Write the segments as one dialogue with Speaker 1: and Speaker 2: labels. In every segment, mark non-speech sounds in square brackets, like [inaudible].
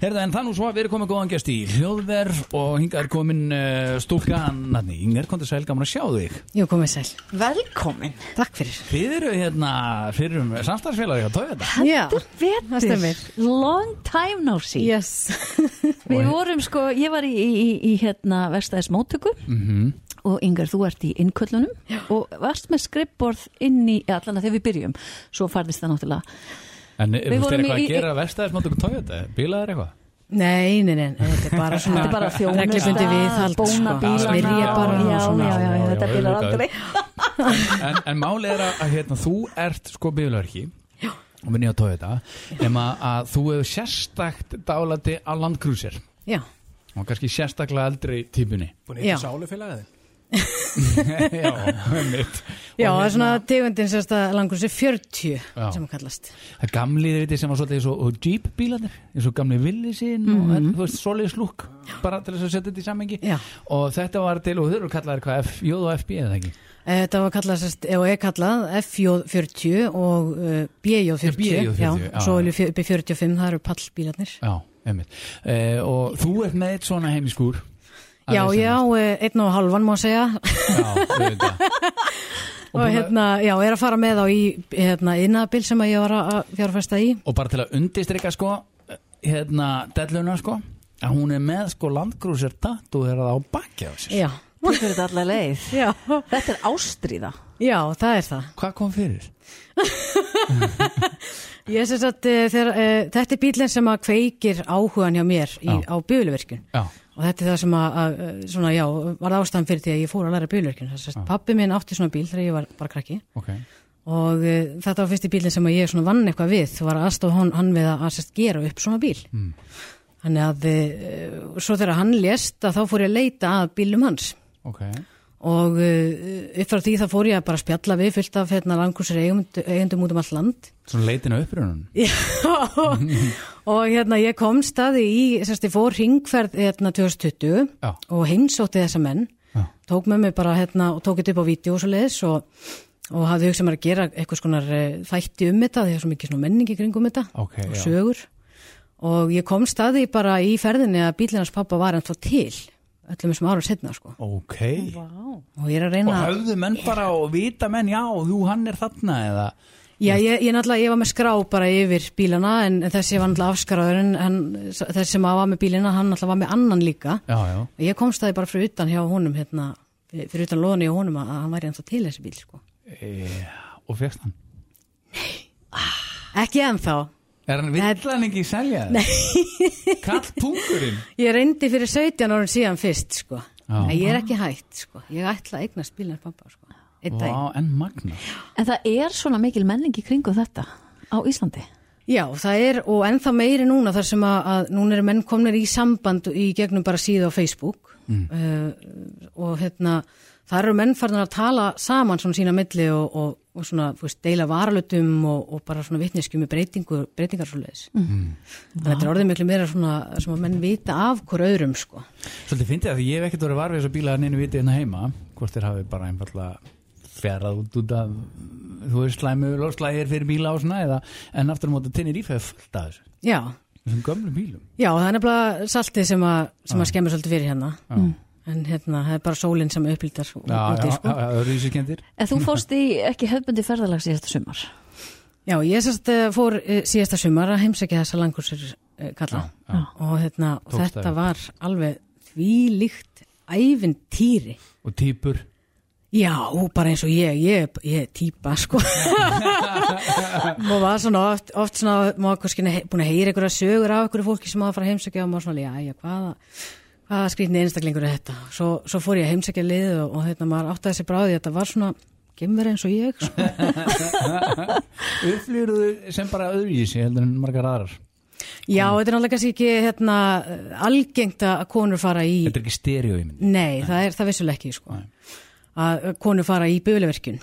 Speaker 1: Herða, en það nú svo að við erum komið góðan gest í hljóðver og hingað er komin uh, stúlka Nanni, Inger, kom til sæl, gaman að sjá þig
Speaker 2: Jú, komið sæl.
Speaker 3: Velkomin
Speaker 2: Takk fyrir.
Speaker 1: Þið eru hérna fyrir um samstagsfélagi að tója þetta
Speaker 2: Já, það
Speaker 3: Betur,
Speaker 2: stemir.
Speaker 3: long time no see
Speaker 2: Yes.
Speaker 3: Við vorum sko, ég var í, í, í hérna vestæðis móttöku
Speaker 2: Mhm.
Speaker 3: og Ingar, þú ert í innköllunum og varst með skrippborð inn í, ja, allan að þegar við byrjum, svo farðist það náttúrulega
Speaker 1: En er
Speaker 3: Við
Speaker 1: þetta
Speaker 3: vorum
Speaker 1: eitthvað
Speaker 3: í-
Speaker 1: að gera verstaðis máttu tója þetta? Bílaðir eitthvað?
Speaker 2: [laughs] Nei, nei, nei, nei, þetta er bara svona
Speaker 3: Þetta er bara
Speaker 2: reglubundi
Speaker 3: þjónusta,
Speaker 2: viðhald,
Speaker 3: bóna
Speaker 2: sko.
Speaker 3: bílana
Speaker 2: Smyrja bara
Speaker 3: já,
Speaker 2: og svona.
Speaker 3: já, já, já,
Speaker 1: Já,
Speaker 3: þetta
Speaker 1: já,
Speaker 3: bílar
Speaker 1: auðvitað.
Speaker 3: aldrei
Speaker 1: en, en máli er að, að hérna, þú ert sko bílverki og minni að tója þetta nema að þú hefur sérstakt dálati á landgrúsir
Speaker 2: Já,
Speaker 1: og kannski sérstaklega eldri típunni
Speaker 4: Búin að hitta
Speaker 2: Já.
Speaker 4: sálufélagið
Speaker 1: [laughs] Já, mitt
Speaker 2: já, það er svona tegundin sérst að langur sér 40
Speaker 1: Já.
Speaker 2: sem hún kallast.
Speaker 1: Það er gamli þeir viti sem var svolítið eins og, og Jeep bílarnir eins og gamli villi sín og en, þú veist, svoleiðis lúk bara til þess að setja þetta í samengi
Speaker 2: Mhm. Já.
Speaker 1: og þetta var til og þau eru kallaðir hvað F, J og FB eða ekki
Speaker 2: Eh, Þetta var kallað, sérst, og er kallað FJ40 og uh, BJ40.
Speaker 1: BJ40,
Speaker 2: já.
Speaker 1: já.
Speaker 2: Svo erum við upp í 45, það eru pallbílarnir.
Speaker 1: Já, einmitt e, og þú ert með eitt svona heim í skúr Að
Speaker 2: Já,
Speaker 1: lesa
Speaker 2: já,
Speaker 1: mest.
Speaker 2: eh, einn og halvan má segja.
Speaker 1: Já, auðvitað.
Speaker 2: [laughs] Og,
Speaker 1: búin að-
Speaker 2: hérna, já, er að fara með á í, hérna, innabil sem að ég var að fjárfesta í.
Speaker 1: og bara til að undistrykka sko hérna delluna sko að hún er með sko landgrúsir tattúherað á bakki á sér
Speaker 2: Já,
Speaker 3: Þú fyrir þetta allar leið
Speaker 2: já,
Speaker 3: Þetta er ástríða
Speaker 2: já, það er það.
Speaker 1: hvað kom fyrir?
Speaker 2: Ég sem sagt, eh, þegar, uh, þetta er bílinn sem að kveikir áhugan hjá mér í,
Speaker 1: Já.
Speaker 2: á bíluverkun
Speaker 1: Já,
Speaker 2: og þetta er það sem að, að eh, svona, já, var ástæðan fyrir því að ég fór að læra bíluverkun. Sagt, pappi minn átti svona bíl þegar ég var bara krakki
Speaker 1: ok
Speaker 2: og uh, þetta var fyrsti bílinn sem að ég svona vann eitthvað við þú var aðstof hann, hann við að, að sest, gera upp svona bíl. Þannig að uh, svo þegar hann lést að þá fór ég að leita að bílum hans
Speaker 1: ok
Speaker 2: og uh, upp frá því þá fór ég að bara spjalla við fullt af hérna langkursir eigundum út um allt land
Speaker 1: svona leitin að upprunum
Speaker 2: Já, og hérna ég kom staði í, sérst, ég fór ringferð hérna 2020
Speaker 1: Já.
Speaker 2: og heimsótti þessa menn,
Speaker 1: Já.
Speaker 2: tók með mig bara hérna og tók þetta upp á vídeo og svo leiðis og, og hafði hugsað mér að gera eitthvað skonar þætti um þetta, því það er svo mikið svona menning í kringum þetta
Speaker 1: Ok,
Speaker 2: og
Speaker 1: já.
Speaker 2: sögur og ég kom staði bara í ferðinni að bílinnars pappa var ennþá til öllum þessum árum setna sko
Speaker 1: ok
Speaker 2: og ég er að
Speaker 1: og
Speaker 2: reyna að
Speaker 1: höfðu menn bara og vita menn já, þú hann er þarna eða
Speaker 2: Já, ég, ég náttúrulega, ég var með skrá bara yfir bílana en, en þessi var náttúrulega afskaraður en, en þessi sem var með bílina, hann náttúrulega var með annan líka.
Speaker 1: já, já,
Speaker 2: Ég komst það bara fyrir utan hjá honum, hérna, fyrir utan loðinu hjá honum að að hann væri ennþá til þessi bíl, sko.
Speaker 1: e, og fegst hann
Speaker 2: Ekki ennþá.
Speaker 1: er hann vill hann ekki selja það? [laughs] kall tungurinn
Speaker 2: Ég reyndi fyrir 17 árum síðan fyrst, sko.
Speaker 1: Já.
Speaker 2: En ég er ekki hægt, sko. Ég ætla að eignast bílans pappa, sko. Einn dag.
Speaker 1: Vá, en magna
Speaker 3: En það er svona mikil menning í kringum þetta á Íslandi
Speaker 2: Já, það er, og ennþá meiri núna þar sem að, að núna eru menn komnir í samband í gegnum bara síðu á Facebook
Speaker 1: Mm.
Speaker 2: uh, og hérna það eru menn farnir að tala saman svona sína milli og, og, og svona þú veist, deila varalutum og, og bara svona vitneskjum með breytingu, breytingar svo leiðis
Speaker 1: Mm.
Speaker 2: þannig að þetta er orðið miklu meira svona sem að menn vita af hver öðrum sko
Speaker 1: Svolítið fyndið að ég hef ekkert verið varfið þess að bíla hann einu vitið hérna heima hvort þeir hafi bara einfallega fjarað út út af þú veist slæmu lofslægir fyrir bíla og svona eða, en aftur á móti tinnir ífæði fullt af þessu
Speaker 2: Já,
Speaker 1: þessum gömlu bílum
Speaker 2: Já, það er nefnilega saltið sem að, sem að skemmur svolítið fyrir hérna en hérna, það er bara sólinn sem upplýtar
Speaker 1: já,
Speaker 2: úti
Speaker 1: já, já,
Speaker 2: sko
Speaker 1: já, rísiskendir
Speaker 3: En
Speaker 2: [laughs]
Speaker 3: þú fórst í ekki höfbundi ferðalags í þetta sumar
Speaker 2: Já, ég sérst uh, fór uh, síðasta sumar að heimsækja þessa langursur uh, kalla
Speaker 1: Já, já.
Speaker 2: og hérna,
Speaker 1: Tókst
Speaker 2: þetta
Speaker 1: það.
Speaker 2: var alveg þvílíkt ævintýri.
Speaker 1: og típur
Speaker 2: Já, bara eins og ég, ég, ég er típa,
Speaker 1: [laughs]
Speaker 2: sko. og var svona oft, oft svona, maður kannski he- búin að heyra einhverja sögur af einhverju fólki sem maður fara að heimsækja og maður svona, já, já, hvaða, hvaða skrýtni einstaklingur er þetta? Svo, svo fór ég að heimsækja liðið og, og hérna, maður áttaði sér bráði, þetta var svona, gemur eins og ég, sko.
Speaker 1: upplýruðu sem bara öðruvísi heldur en margar aðrar
Speaker 2: Já, þetta er náttúrulega kannski ekki hérna, algengt að konur fara í
Speaker 1: þetta er ekki stereo í myndi
Speaker 2: Nei, það er það vissulega ekki sko.
Speaker 1: Nei.
Speaker 2: að konur fara í bjöfleverkun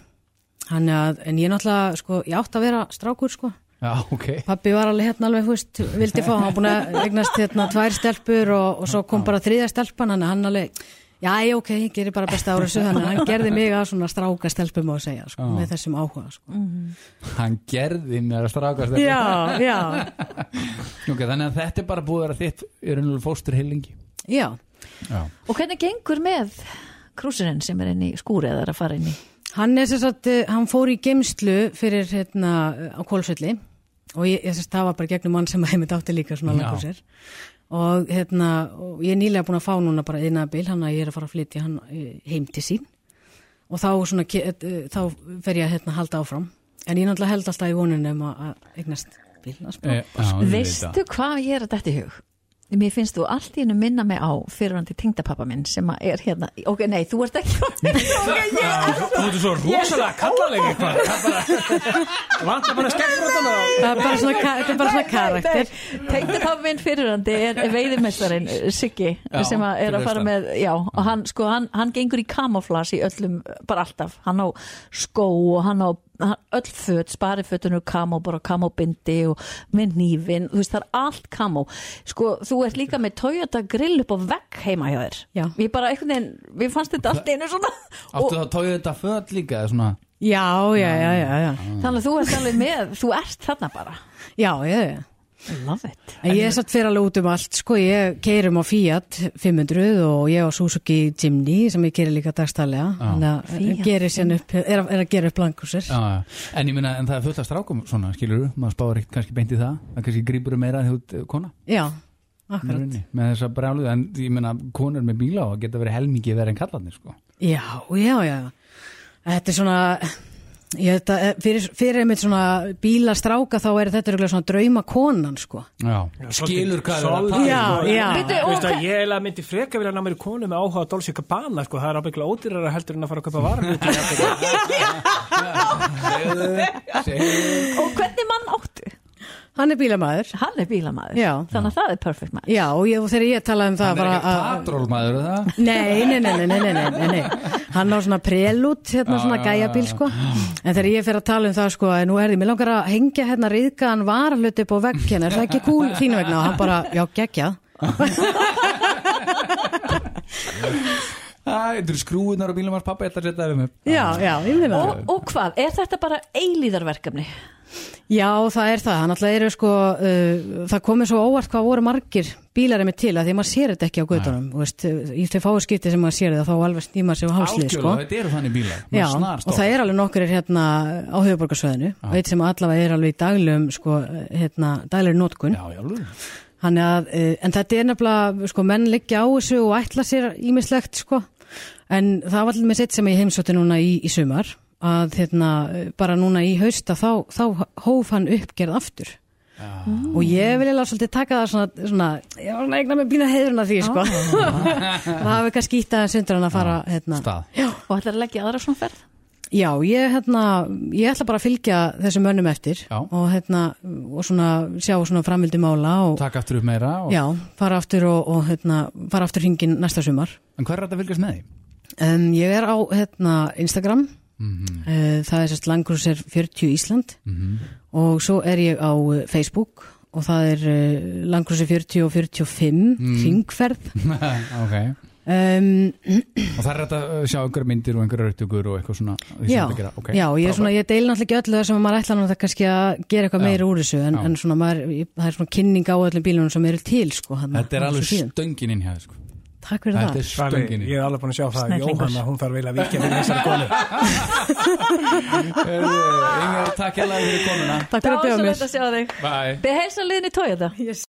Speaker 2: Þannig að, en ég náttúrulega sko, ég átti að vera strákur sko
Speaker 1: já, ok
Speaker 2: Pappi var alveg hérna alveg, húst, vildi fá hann var búin að eignast hérna tvær stelpur og, og svo kom bara þriðja stelpan, hann hann alveg já, já, ok, ég gerir bara besta ára þessu þannig að hann gerði mig að svona stráka stelpum á að segja, sko, með þessum áhuga, sko.
Speaker 1: Hann gerði mér að strákast
Speaker 2: Já, já,
Speaker 1: Ok, þannig að þetta er bara búið að vera þitt er unnulega fóstur heilingi
Speaker 2: já.
Speaker 1: Já,
Speaker 3: Og hvernig gengur með krúsirinn sem er inn í skúri eða er að fara inn í?
Speaker 2: Hann er sem sagt, eh, hann fór í geimslu fyrir hérna eh, á Kólsvelli og ég, ég sem sagt, það var bara gegnum mann sem að heimitt átti líka svona
Speaker 1: Já.
Speaker 2: langur sér og hérna, og ég er nýlega búin að fá núna bara einabil, hann að ég er að fara að flytja hann eh, heim til sín og þá svona, ke- eh, þá fer ég að hérna halda áfram, en ég náttúrulega held alltaf í vonunum að að eignast bíl að spá.
Speaker 1: e, já auðvitað.
Speaker 3: Veistu hvað ég er að þetta í hug? Mér finnst þú allt í hennu minna mig á fyrirvandi tengdapappa minn sem að er hérna Ok, nei, þú ert ekki okay, ég,
Speaker 4: Þú ert svo rosalega kallaleg eitthvað Það bara Vanta bara skemmtröndana
Speaker 2: Það er bara svona, ka- þetta er bara svona karakter
Speaker 3: Tengdapappa minn fyrirvandi er veiðimestarin Siggi
Speaker 1: Já,
Speaker 3: sem að er
Speaker 1: fyrir
Speaker 3: að fara
Speaker 1: austan.
Speaker 3: með Já, og hann, sko, hann, hann gengur í kamoflas í öllum, bara alltaf Hann á skó og hann á hann, öll föt, sparifötunur kamó bara kamóbindi og með nýfin þú veist, það er allt kamó sko, þú ert líka með Toyota grill upp á vegg heima hjá þér
Speaker 2: Já.
Speaker 3: Ég bara einhvern veginn, við fannst þetta allt í einu svona og
Speaker 1: Áttu þá tóið þetta föt líka eða svona
Speaker 2: Já, já, já, já, já,
Speaker 3: þannig að þú ert alveg með, þú ert þarna bara
Speaker 2: já, já, já.
Speaker 3: Love it
Speaker 2: En ég er satt fyrir alveg út um allt, sko, ég keirum á Fiat 500 og ég á Suzuki Jimny sem ég keiri líka dagstælega, þannig að
Speaker 3: Fiat.
Speaker 2: gerir sérn upp, er, að- er að gera upp langursir.
Speaker 1: Já, já. en ég meina, en það er fullt af strákum svona, skilur þú, maður spáður ekkert kannski beint í það það kannski grípur þú meira þegar þú ert eh, kona
Speaker 2: Já,
Speaker 1: með
Speaker 2: akkurat.
Speaker 1: rauninni, með þessa brjáluð, en ég meina konur með bíla og geta verið helmingi verið en kallarnir sko.
Speaker 2: Já, já, já. Þetta er svona, ég, þetta, er- fyrir, fyrir einmitt svona bílastráka þá er þetta örugglega svona drauma konan, sko.
Speaker 1: skilur hvað er að um.
Speaker 2: Já, já.
Speaker 4: Veitu,
Speaker 3: Bíddu, og
Speaker 4: Veistu
Speaker 3: hva-
Speaker 4: að ég eiginlega myndi freka vilja ná mér í konu með áhuga á Dolce Gabbana sko, það er ábygglega ódýrara heldur en að fara að
Speaker 1: [laughs]
Speaker 4: kaupa varum
Speaker 1: tala segðu,
Speaker 3: Og hvernig mann áttu?
Speaker 2: Hann er bílamaður.
Speaker 3: Hann er bílamaður
Speaker 2: Já.
Speaker 3: Þannig að það er perfect maður
Speaker 2: Já, og ég, og þegar ég talaði um það
Speaker 1: það er
Speaker 2: bara
Speaker 1: ekki patról það
Speaker 2: Nei, nei, nei, nei, nei, nei, nei, nei, nei. Hann á svona prelút, hérna
Speaker 1: Já,
Speaker 2: svona
Speaker 1: já,
Speaker 2: gæjabíl,
Speaker 1: já, já.
Speaker 2: sko. En þegar ég fer að tala um það, sko, að nú er því, mér langar að hengja hérna riðkaðan varahlut upp á vegg hérna, er það ekki kúl þínu vegna? Og hann bara, já, geggjað.
Speaker 1: Æ, þetta eru skrúðunar og bílum hans pappa ég ætla að setja það um upp
Speaker 2: Já, já, ég meina
Speaker 3: og,
Speaker 2: það.
Speaker 3: og hvað, er þetta bara eilíðarverkefni?
Speaker 2: Já, það er það, hann alltaf eru, sko, uh, það komið svo óvart hvað voru margir bílar einmitt til, að því að maður sér þetta ekki á göttunum, þú veist, í þau fáu skipti sem maður sér það, þá alveg snýma sig á hálslið, sko.
Speaker 1: Algjörlega, þetta eru þannig bílar
Speaker 2: Já, og það er alveg nokkur er hérna á höfuborgarsvæðinu og eitt sem allavega er alveg í daglum sko, hérna, daglegur nótkun
Speaker 1: Já, já, alveg.
Speaker 2: Þannig að, eh, en þetta er nefnilega sko, menn leggja á þessu og ætla sér ímislegt sko. en það var allir með sitt sem ég heimsótti núna í, í sumar að hérna, eh, bara núna í hausta þá, þá hóf hann uppgerð aftur og ég vil eiginlega svolítið taka það svona, svona ég var svona eigna með býna heiðurna því sko. [laughs] það hafi kannski ítt aðeins undir hann að fara hérna,
Speaker 1: Stað.
Speaker 3: Og ætlar að leggja aðra svona ferð?
Speaker 2: Já, ég, hérna, ég ætla bara að fylgja þessum mönnum eftir
Speaker 1: Já.
Speaker 2: og, hérna, og svona, sjá svona framvildi mála og
Speaker 1: Takk aftur upp meira og...
Speaker 2: já, fara aftur og, og hérna, fara aftur hringin næsta sumar.
Speaker 1: En hvað er þetta að fylgjast með því?
Speaker 2: Um, ég er á hérna, Instagram,
Speaker 1: Mhm,
Speaker 2: uh, það er sérst langrúsir 40 Ísland og svo er ég á uh, Facebook og það er uh, langrúsir 40 og 45
Speaker 1: Mm.
Speaker 2: hringferð.
Speaker 1: [laughs] ok
Speaker 2: Um,
Speaker 1: Og það er hægt að uh, sjá einhverja myndir og einhverja rautugur og eitthvað svona því sem
Speaker 2: Já,
Speaker 1: þetta gera. Ok,
Speaker 2: já, ég, er
Speaker 1: frábært.
Speaker 2: svona, ég deil náttúrulega ekki öllu það sem maður ætla nú það kannski að gera eitthvað
Speaker 1: Já,
Speaker 2: meira úr þessu en,
Speaker 1: já.
Speaker 2: en svona maður, ég- það er svona kynning á öllum bílunum sem eru til sko, hann,
Speaker 1: Þetta er alveg stöngin inn hjá þér, sko.
Speaker 2: Takk fyrir
Speaker 1: Þetta
Speaker 2: það
Speaker 1: er stöngin
Speaker 4: ég
Speaker 1: inn
Speaker 4: er alveg búin að sjá það
Speaker 3: Snillingur.
Speaker 4: Jóhanna, hún þarf eiginlega að vikja fyrir þessari konu
Speaker 1: Heyrðu, Inga, takk hérlega fyrir komuna
Speaker 2: Takk fyrir að bjóða mér
Speaker 3: Dásamlegt að sjá þig
Speaker 1: Bye
Speaker 3: Behelsa liðin í tója það
Speaker 2: Yes.